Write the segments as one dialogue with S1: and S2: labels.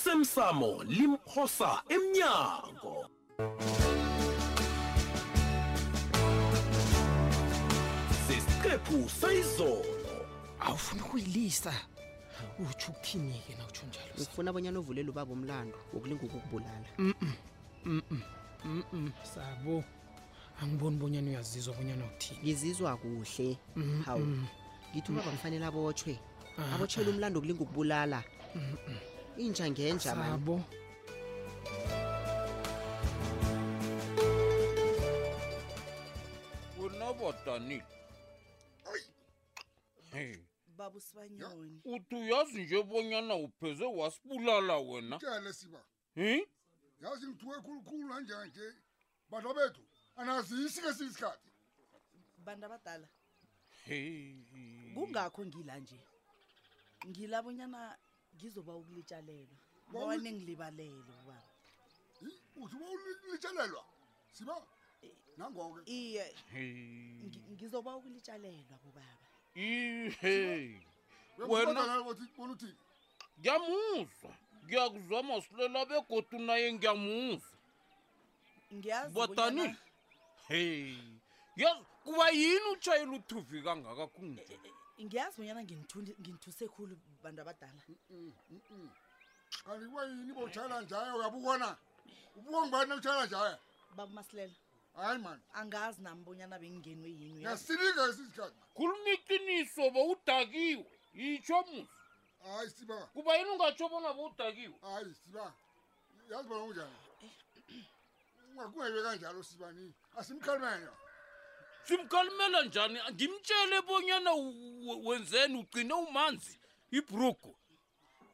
S1: osemsamo limphosa emnyango sesiqephu sayizolo
S2: awufuna ukuyilisa utsho ukuthini-ke na utsho njalo
S3: ngifuna abanyana ovulela ubaba umlando wokulinga ukukubulala
S2: Mm, sabo angiboni bonyana uyazizwa bonyana uthini
S3: ngizizwa kuhle hawu ngithi ubaba kufanele abotshwe
S2: Ah,
S3: abotshele umlando wokulinga ukubulala inja ngenja mani
S2: sabo
S4: unabadanile Hey,
S5: baba usibanyoni
S4: uthi uyazi nje bonyana upheze wasibulala wena
S6: tshele siba
S4: hi
S6: yazi ngithuke khulukhulu nanjanje bantu bethu anazisi ke siyisikhathi
S5: bantu abadala
S6: Mm.
S4: Hey.
S5: kungakho ngila nje ngila bonyana ngizoba ukulitshalelwa bone ngilibalele ubaba
S6: Hmm? uthi uba ulitshelelwa siba nangoke
S5: Eh, iye
S4: Hey.
S5: ngi- ngizoba ukulitshalelwa bobaba
S4: Ih, hey wena
S6: wenaothi bona uthini
S4: ngiyamuzwa ngiyakuzwa masilela begodu naye ngiyamuzwa
S5: ngiyazi
S4: badanile
S5: bonyana-
S4: hey yazi kuba yini utshayela uthuvi kangaka
S5: Eh,
S4: kunje
S5: ngiyazi bonyana nginithundi- nginithuse khulu bantu abadala
S6: kanti kuba yini bowutshayela njaya uyabukona ubuka ngibani utshayela njaya
S5: baba masilela
S6: hayi mani
S5: angazi nami bonyana bengingenwe yini uyazi?
S6: ngiyasinika esisikhathi
S4: khuluma iqiniso bowudakiwe yitsho muzi
S6: hayi siba
S4: kuba yini ungatsho bona bowudakiwe
S6: hayi siba yazi bona kunjani ungakungayibe kanjalo sibani asimkhalimene
S4: simkalimela njani ngimtshele bonyana u- u- wenzeni ugcine umanzi ibrugu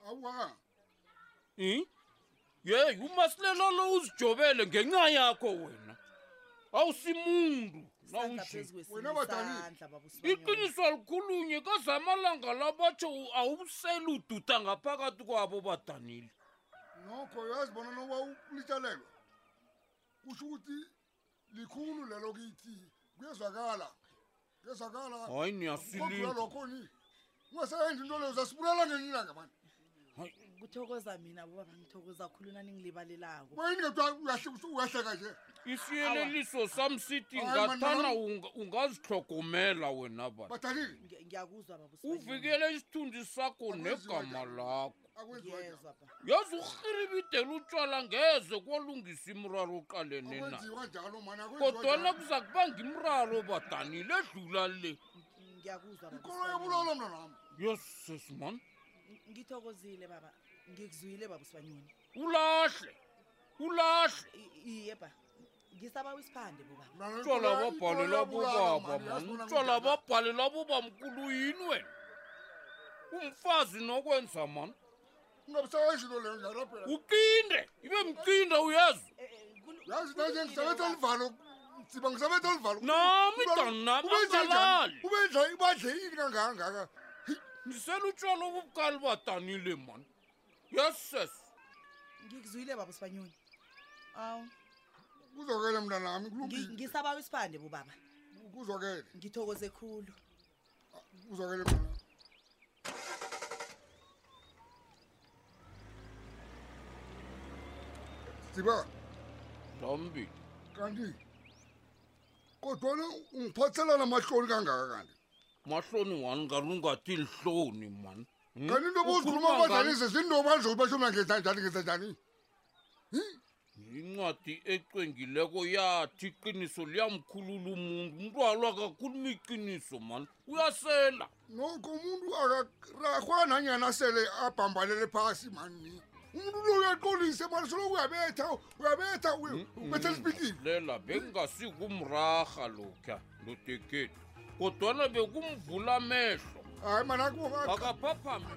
S6: awukakanga
S4: um yeyi umasilela lo uzijobele ngenxa yakho wena awusimuntu
S5: Isandla phezu
S4: nawunje
S5: kwesinye
S6: Wena badanile.
S5: isandla, baba usibanyoni.
S4: iqiniso likhulunye kazamalanga labatsho awuseli ududa ngaphakathi kwabo badanile
S6: nokho uyazibona noba ulitshalelwa kusho ukuthi likhulu lelo kithi kuyezwakala kuyezwakala
S4: hayi
S6: kodlula
S4: niyasilinda
S6: lokho ni ungasayenzi into leyo zasibulala ngenye ilanga mani
S5: kuthokoza mina bobaba ngithokoza khulu nani ngilibalelako
S6: wayini kuthiwa uyahleka nje
S4: isiyeleliso sam sithi
S6: Hayi,
S4: ngathana
S6: manana.
S4: unga- ungazihlogomela wena bani
S6: badanile
S5: Ngiya- ngiyakuzwa baba usibanyoni.
S4: uvikele isithunzi sakho
S6: Akwenziwa
S4: negama
S6: njalo.
S4: lakho
S6: akwenziwa njalo
S5: ngiyezwa baba
S4: yazi urhiribidela utshwala ngeze kwalungisa imraro oqalene na
S6: akwenziwa njalo mani
S4: kodwana
S6: akwenziwa
S4: kuza kubanga imraro badanile edlula le
S5: ngiyakuzwa baba
S6: ikolo
S5: usibanyoni.
S6: yobulolo mna nami
S4: yesus man
S5: ngithokozile baba ngikuzwile baba usibanyoni
S4: ulahle ulahle
S5: I- iye ba ngisaba isiphande baba
S4: utshwala babhalela bobaba man utshwala babhalela bobamkulu yini wena umfazi nokwenza mani
S6: ungabusayezinto leyo njalo phela
S4: uqinde ibe mqinde uyezwa
S6: yazi manje ngisebetha oluvalo siba ngisebetha oluvalo
S4: Nami dani nami, angalali.
S6: ubendla ibadle yini kangakangaka
S4: ndisela utshwala obubukali badanile mani yeses
S5: ngikuzwile baba usibanyoni awu
S6: kuzokele mna nami
S5: ngi-
S6: kulungile
S5: ngisaba isiphande bobaba
S6: kuzokele
S5: ngithokoze khulu
S6: kuzokele mna nami siba
S4: dambili
S6: kanti kodwana ungiphathelana mahloni kangaka kanti
S4: mahloni wani ngari ungathi lihloni mani Hmm?
S6: kanti into
S4: Ukhuluma
S6: bozikhuluma
S4: ngani?
S6: badlalise zindobandlokuthi basho mna ngenza njani ngenza njani
S4: incwadi ecwengileko yathi iqiniso liyamkhulula umuntu umntu alwakakhuluma iqiniso mani uyasela
S6: noko umuntu akarahwa nanyana sele abhambalele phasi mani umuntu lo uyaqolisa mani soloko uyabetha uyabetha uy-
S4: Hmm?
S6: ubetha lisipikile
S4: lela bekungasekumraha lokha ndodeketu kodwana bekumvula amehlo
S6: hayi mani akubo
S4: akaphaphame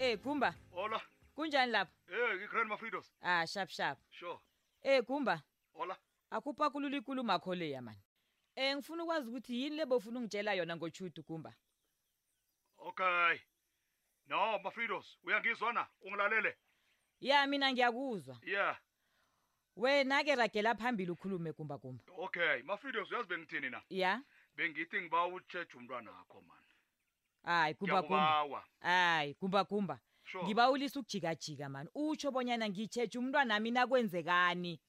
S7: Eh Gumba,
S8: Hola.
S7: kunjani lapha?
S8: Eh, ngikhona mafridos.
S7: Ah sharp sharp.
S8: Sure.
S7: Eh Gumba,
S8: Hola.
S7: akupakulula ikulumo akho leya man. Eh ngifuna ukwazi ukuthi yini le bofuna ungitshela yona ngochudu Gumba.
S8: Okay. No, mafridos, uyangizwa na? Ungilalele.
S7: ya mina ngiyakuzwa
S8: yeah
S7: wena-ke ragela phambili ukhulume gumbagumba
S8: okay mafidos uyazi bengithini na
S7: ya
S8: bengithi ngiba utsheje umntwana akho mani
S7: hayi gumbagumba
S8: ngiyakubawa
S7: hayi gumbagumba
S8: sure
S7: ngibawulisa ukujikajika mani utsho bonyana ngitshetshe umntwanami nakwenzekani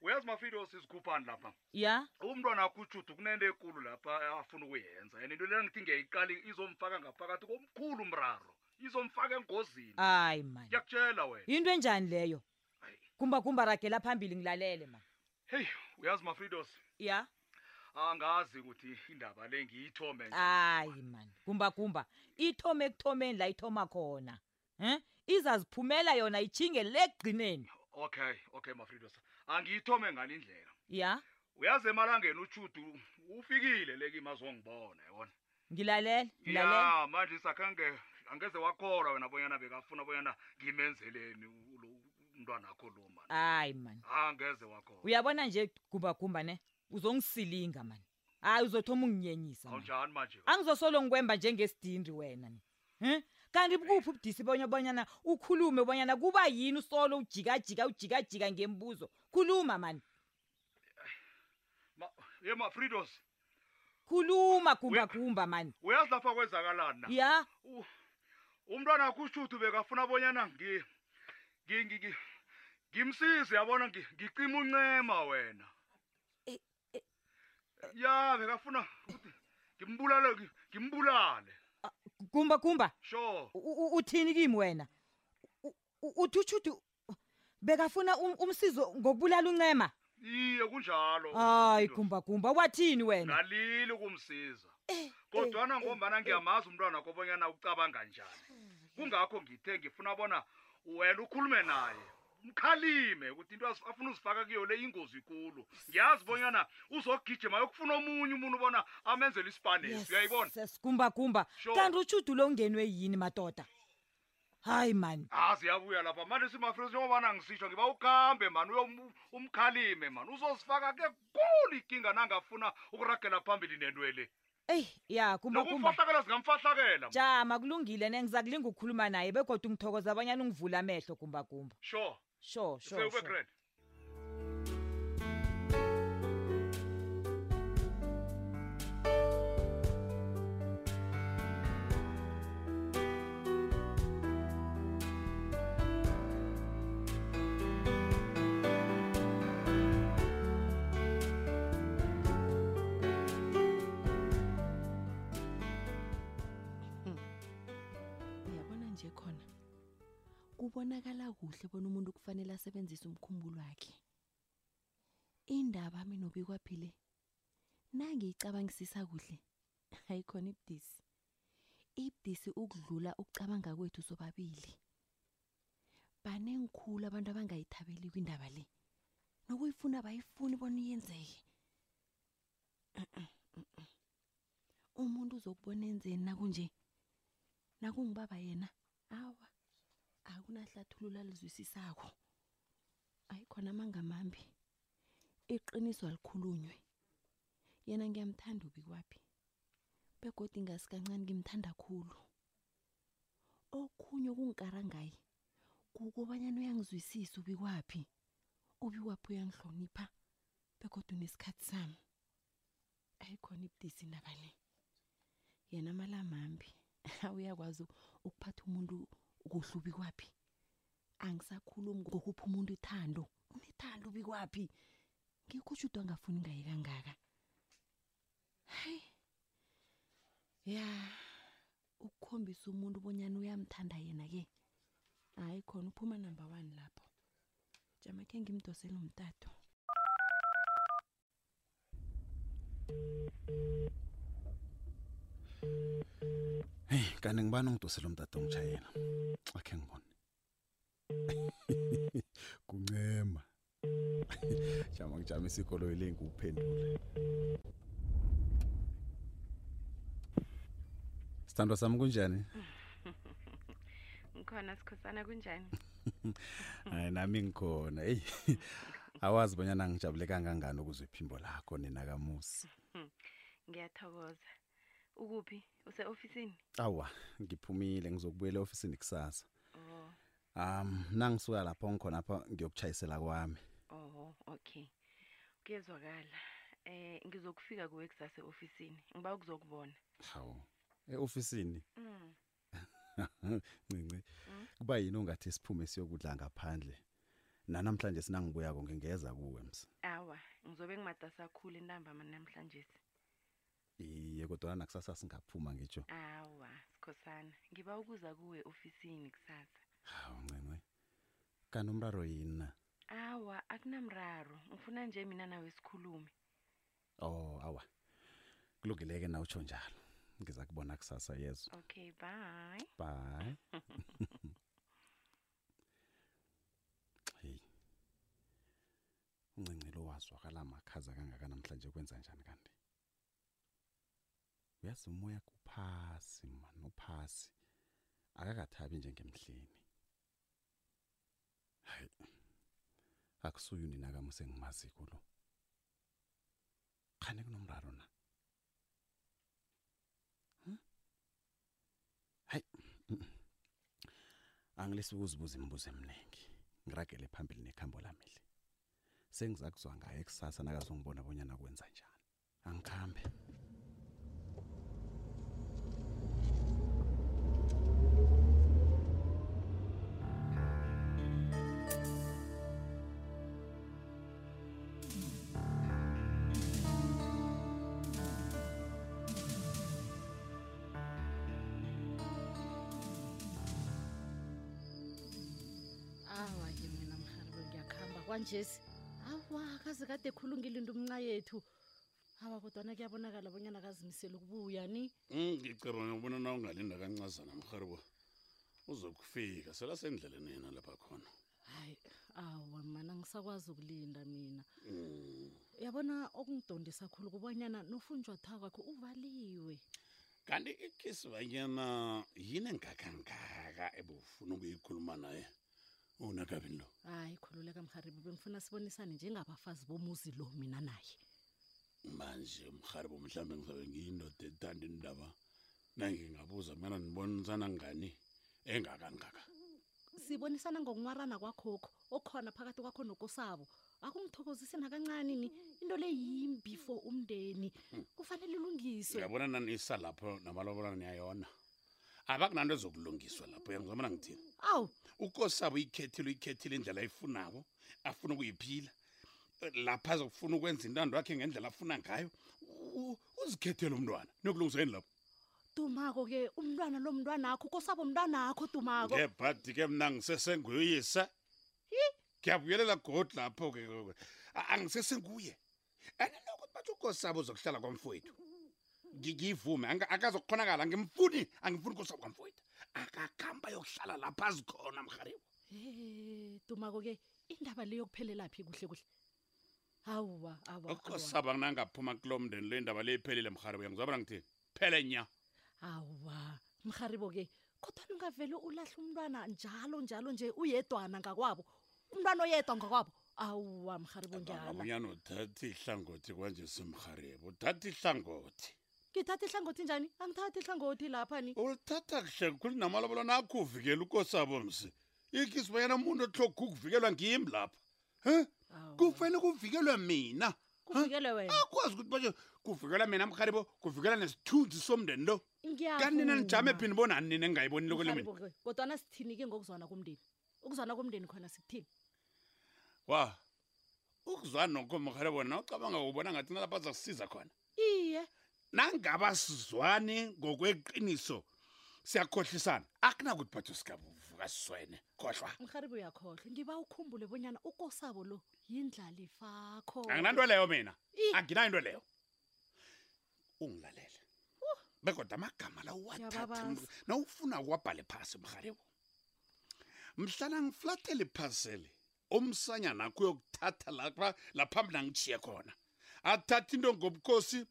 S8: uyazi mafidos isikhuphani lapha
S7: ya
S8: umntwana akho utshudu kunento ekulu lapha afuna ukuyenza and into leyo ngithi ngiyayiqali izomfaka ngaphakathi komkhulu umraro izomfaka engozini
S7: hayi mani
S8: ngiyakutshela wena
S7: yinto enjani leyo
S8: Hayi.
S7: gumbagumba ragela phambili ngilalele mani
S8: heyi uyazi mafidos
S7: ya
S8: angazi ukuthi indaba le ngiyithome nje
S7: hayi mani gumbagumba ithome ekuthomeni la ithoma khona um izaziphumela yona ijhinge le ekugqineni
S8: okay okay mafridos angiyithome ngale indlela
S7: ya
S8: uyazi emalangeni utshudu ufikile le kimi azongibona yabona
S7: ngilalele ngilalele
S8: ya manje sakhange angeze wakholwa wena bonyana bekafuna bonyana ngimenzeleni u- lo umntwana akho lo mani
S7: hayi mani
S8: angeze wakholwa
S7: uyabona nje gumbagumba ne uzongisilinga mani hayi uzothoma unginyenyisa mani.
S8: awunjani manje
S7: angizosolo ngikwemba njengesidindri wena ni um kanti bukuphi ubudisi bonya bonyana ukhulume bonyana kuba yini usolo ujikajika ujikajika ngembuzo khuluma mani
S8: Ma- ye mafridos
S7: khuluma gumbagumba mani
S8: uyazi lapha kwenzakalani na
S7: ya
S8: U- umntwana akho ushuthu bekafuna bonyana ngi- ngi- ngi- ngi- ngimsize yabona ngi- ngicima uncema wena ya bekafuna ukuthi ngimbulale ngi- ngimbulale
S7: gumbagumba
S8: sure
S7: u- u- uthini kimi wena U- u- uthi ushuthi bekafuna um- umsizo ngokubulala uncema
S8: iye kunjalo
S7: hayi gumbagumba wathini wena
S8: ngalili ukumsiza kodwana ngombana ngiyamazi umntwana kobonyana ucabanga njani kungakho ngithe ngifuna bona wena ukhulume naye mkhalime ukuthi into az- afuna uzifaka kuyo le ingozi ikulu ngiyazi bonyana uzogijima yokufuna omunye umuntu ubona amenzele isipanesi uyayibona
S7: gumbagumba
S8: Sure.
S7: kanti ushuthi lo ungenwe yini madoda hayi mani
S8: hazi yabuya Ah, lapha manje simafrisi njengobana ngisitsho ngiba ukuhambe mani uyom- um-, umkhalime mani uzozifaka ke kulu ikinga nangafuna ukuragela phambili nentwele
S7: eyi ya gumbagumba
S8: nokumfahlakela zingamfahlakela man.
S7: jama kulungile ne ngiza kulinga ukukhuluma naye begodwa ngithokoza abanyana ungivula amehlo gumbagumba
S8: sure
S7: sho sho
S8: seube grand
S9: uyabona nje khona kubonakala kuhle bona umuntu kufanele asebenzise umkhumbulo wakhe indaba mina obikwaphile nangiyicabangisisa kuhle ayikhona ibudisi ibudisi ukudlula ukucabanga kwethu sobabili banengikhulu abantu abangayithabeli kwindaba le nokuyifuna bayifuni bona iyenzeke Uh-uh, uh-uh. umuntu uzokubona enzeni nakunje nakungibaba yena awa akunahlathulula lizwisisako ayikhona mangamambi iqiniso alikhulunywe yena ngiyamthanda ubi kwaphi begodi ngasi kancane ngimthanda khulu okhunye okungikara ngaye kukobanyana uyangizwisisa ubi kwaphi ubi kwaphi uyangihlonipha begodwa unesikhathi sami ayikhona ibudisi indaba le yena amalamambi uyakwazi ukuphatha umuntu kuhle ubi kwaphi angisakhulumi ngokuphi umuntu ithando unethando ubi kwaphi ngikushudwa angafuni ngaye kangaka hayi ya ukukhombisa umuntu bonyana uyamthanda yena-ke hayi khona uphuma number one lapho jama khe ngimdosele umtato
S2: heyi kanti ngibani ongidosela umtata ongitshayela akhe ngibone kuncema jama ngijamisa ikoloyi le ngiwuphendule sithandwa sami kunjani
S10: ngikhona sikhosana kunjani
S2: hayi nami ngikhona eyi awazi bonyana ngijabule kangangani ukuze iphimbo lakho ninakamusi
S10: ngiyathokoza ukuphi use-ofisini
S2: awa ngiphumile ngizokubuyela e-ofisini kusasa
S10: o
S2: um nangisuka lapho ngikhonapha ngiyokuchayisela kwami
S10: oh okay kuyezwakala eh ngizokufika kuwe kusasa ofisini ngiba ukuzokubona
S2: hawu e-ofisini
S10: mm.
S2: ncinci kuba yini ungathi siphume siyokudla ngaphandle nanamhlanje sinangibuyako ngingeza kuwe ms
S10: awa ngizobe ngimatasa khulu intambama namhlanje
S2: iye kodwana nakusasa singaphuma ngitsho
S10: awa sikhosana ngiba ukuza kuwe ofisini kusasa
S2: hawu ncinci kanti umraro yini na
S10: awa akunamraro ngifuna nje mina nawe sikhulume
S2: oh awa kulungileke na utsho njalo ngiza kubona kusasa yezo
S10: okay bye
S2: bye heyi uncincelo wazwakala makhaza kangaka namhlanje kwenza njani kanti uyazi umoya kuphasi mani uphasi akakathabi njengemhleni hayi akusuye unina kam usengimaziko lo khani kunomraro na Hmm? hayi mm-mm. angilesi ukuzibuza imibuzo eminingi ngiragele phambili nekhambo lameli sengiza kuzwa ngaye kusasa nakazongibona bonyana kwenza njani angikhambe
S11: awa ke mina mharibo ngiyakuhamba kwanjesi awa kaze kade khulu ngilinda umnca yethu awa kodwana kuyabonakala bonyana akazimisele ukubuya ni
S12: Mm, ngicabanga ubona na ungalinda kancazana mharibo uzokufika sela sendleleni yena lapha khona
S11: hayi awa mana ngisakwazi ukulinda mina
S12: Mm.
S11: uyabona okungidondisa khulu kubonyana nofunjwathwa kwakho uvaliwe
S12: kanti ikisi banyana yini engakangaka ebufuna ukuyikhuluma naye unakabini lo
S11: hayi khululeka mharibo bengifuna sibonisane njengabafazi bomuzi lo mina naye
S12: manje mharibo mhlawumbe ngizabe ngiyindoda ethanda indaba nangingabuza mina nibonisana ngani engakangaka
S11: sibonisana ngokunwarana kwakhokho okhona phakathi kwakho nokosabo akungithokozisi nakancane ni into le yimbi for umndeni kufanele ilungiswe
S12: uyabona nanisa lapho namalobolana niyayona abakunanto ezokulungiswa lapho uyangizamana ngithini
S11: awu
S12: ukosabo ikhethile uyikhethile indlela ayifunako afuna ukuyiphila lapha azokufuna ukwenza intando yakhe ngendlela afuna ngayo U- uzikhethele umntwana niyokulungisa yini lapho
S11: dumako-ke umntwana lo mntwana akho ukosabo mntwana akho dumako
S12: ngebhadi ke mna ngisesenguyoyisa ngiyabuyelela godi lapho-ke A- angisesenguye and nokuthi batsho ukosabo uzokuhlala kwamfowethu Ngi- ngiyivume Anga- akazokukhonakala ngimfuni angimfuni ukosabo kwamfowethu akakhamba yokuhlala lapha azikhona mharibo
S11: e dumako-ke indaba le yokuphelelaphi kuhle kuhle awuwa awa awa.
S12: ukosaba kunangaphuma kulo mndeni le ndaba le iphelile mharibo yangizabona ngithini phele nya
S11: awa mharibo-ke kodwani ungavele ulahle umntwana njalo njalo nje uyedwana ngakwabo umntwana oyedwa ngakwabo awuwa mharibo ngiyala
S12: ngabunyana uthatha ihlangothi kwanje simharibo uthatha ihlangothi
S11: ngithatha ihlangothi njani angithatha ihlangothi lapha ni
S12: ulithatha kuhle kukhulu namalobolo nakho uvikela ukosabo msi ikisi bayena muntu otlhoga ukuvikelwa ngimi lapha um kufanele kuvikelwe mina
S11: kuvikele wena
S12: akwazi ukuthi basho kuvikelwa mina mharibo kuvikelwa nesithunzi somndeni lo kanti nina nijame
S11: Ngiyavuma.
S12: phini bonani nina engingayibonile kule mina
S11: Mharibo-ke, kodwana sithini-ke ngokuzwana komndeni ukuzwana komndeni khona sikuthini
S12: wa ukuzwana nokho mharibo na ucabanga ubona ngathi nalapha azakusiza khona
S11: iye
S12: nangaba sizwane ngokweqiniso siyakhohlisana akunakuthi batho sikavuka siswene khohlwa
S11: mharibo uyakhohlwa ngiba ukhumbule bonyana ukosabo lo yindlalifakho
S12: anginanto leyo mina anginayo into leyo ungilalele bekodwa amagama la uwathatha
S11: Ngiyababasa.
S12: na ufuna ukuwabhale phasi mharibo mhlana ngiflathele phasele umsanyana akho uyokuthatha lapha lapha mna ngitshiye khona athatha into ngobukhosi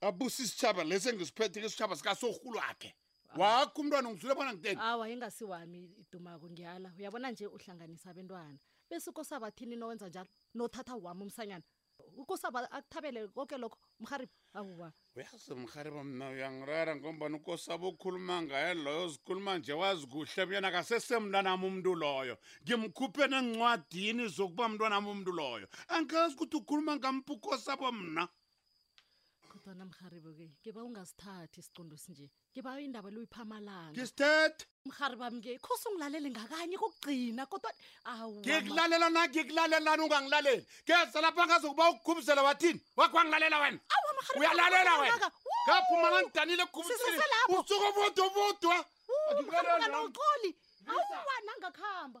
S12: abusa isitshaba lesi engisiphetheke isitshaba sikasorhulu wakhe wakho umntwana ngizule bona ngiteni
S11: awa ingasiwami idumako ngiyala uyabona nje uhlanganisa abentwana bese ukosabathini nowenza njalo nothatha wami umsanyana ukosaba akuthabele konke lokho mharibo awuwa
S12: uyazi mrhariba mna uyangirara ngombani ukosaba ukhuluma ngaye loyo zikhuluma nje wazi kuhle myena kasesemntwanam umntu loyo ngimkhuphe nencwadini zokuba mntwanam umntu loyo angazi ukuthi ukhuluma ngamphi ukosabo mna
S11: kodwana mharibo-ke ngiba ungasithathi isicundo sinje ngiba indaba luyiphamalanga
S12: ngisithethe
S11: mharibami-ke khosi ungilalele ngakanye kokugcina kodwa awu
S12: ngikulalela na ngikulalelani ungangilaleli ngeza lapha ngazokuba ukugubuzela wathini wakho wangilalela wena uyalalela wena ngaphuma ngangidanile ekugubuzeli
S11: Siseselapho.
S12: usuke bodwa
S11: mhariba noxoli awuwa nangakuhamba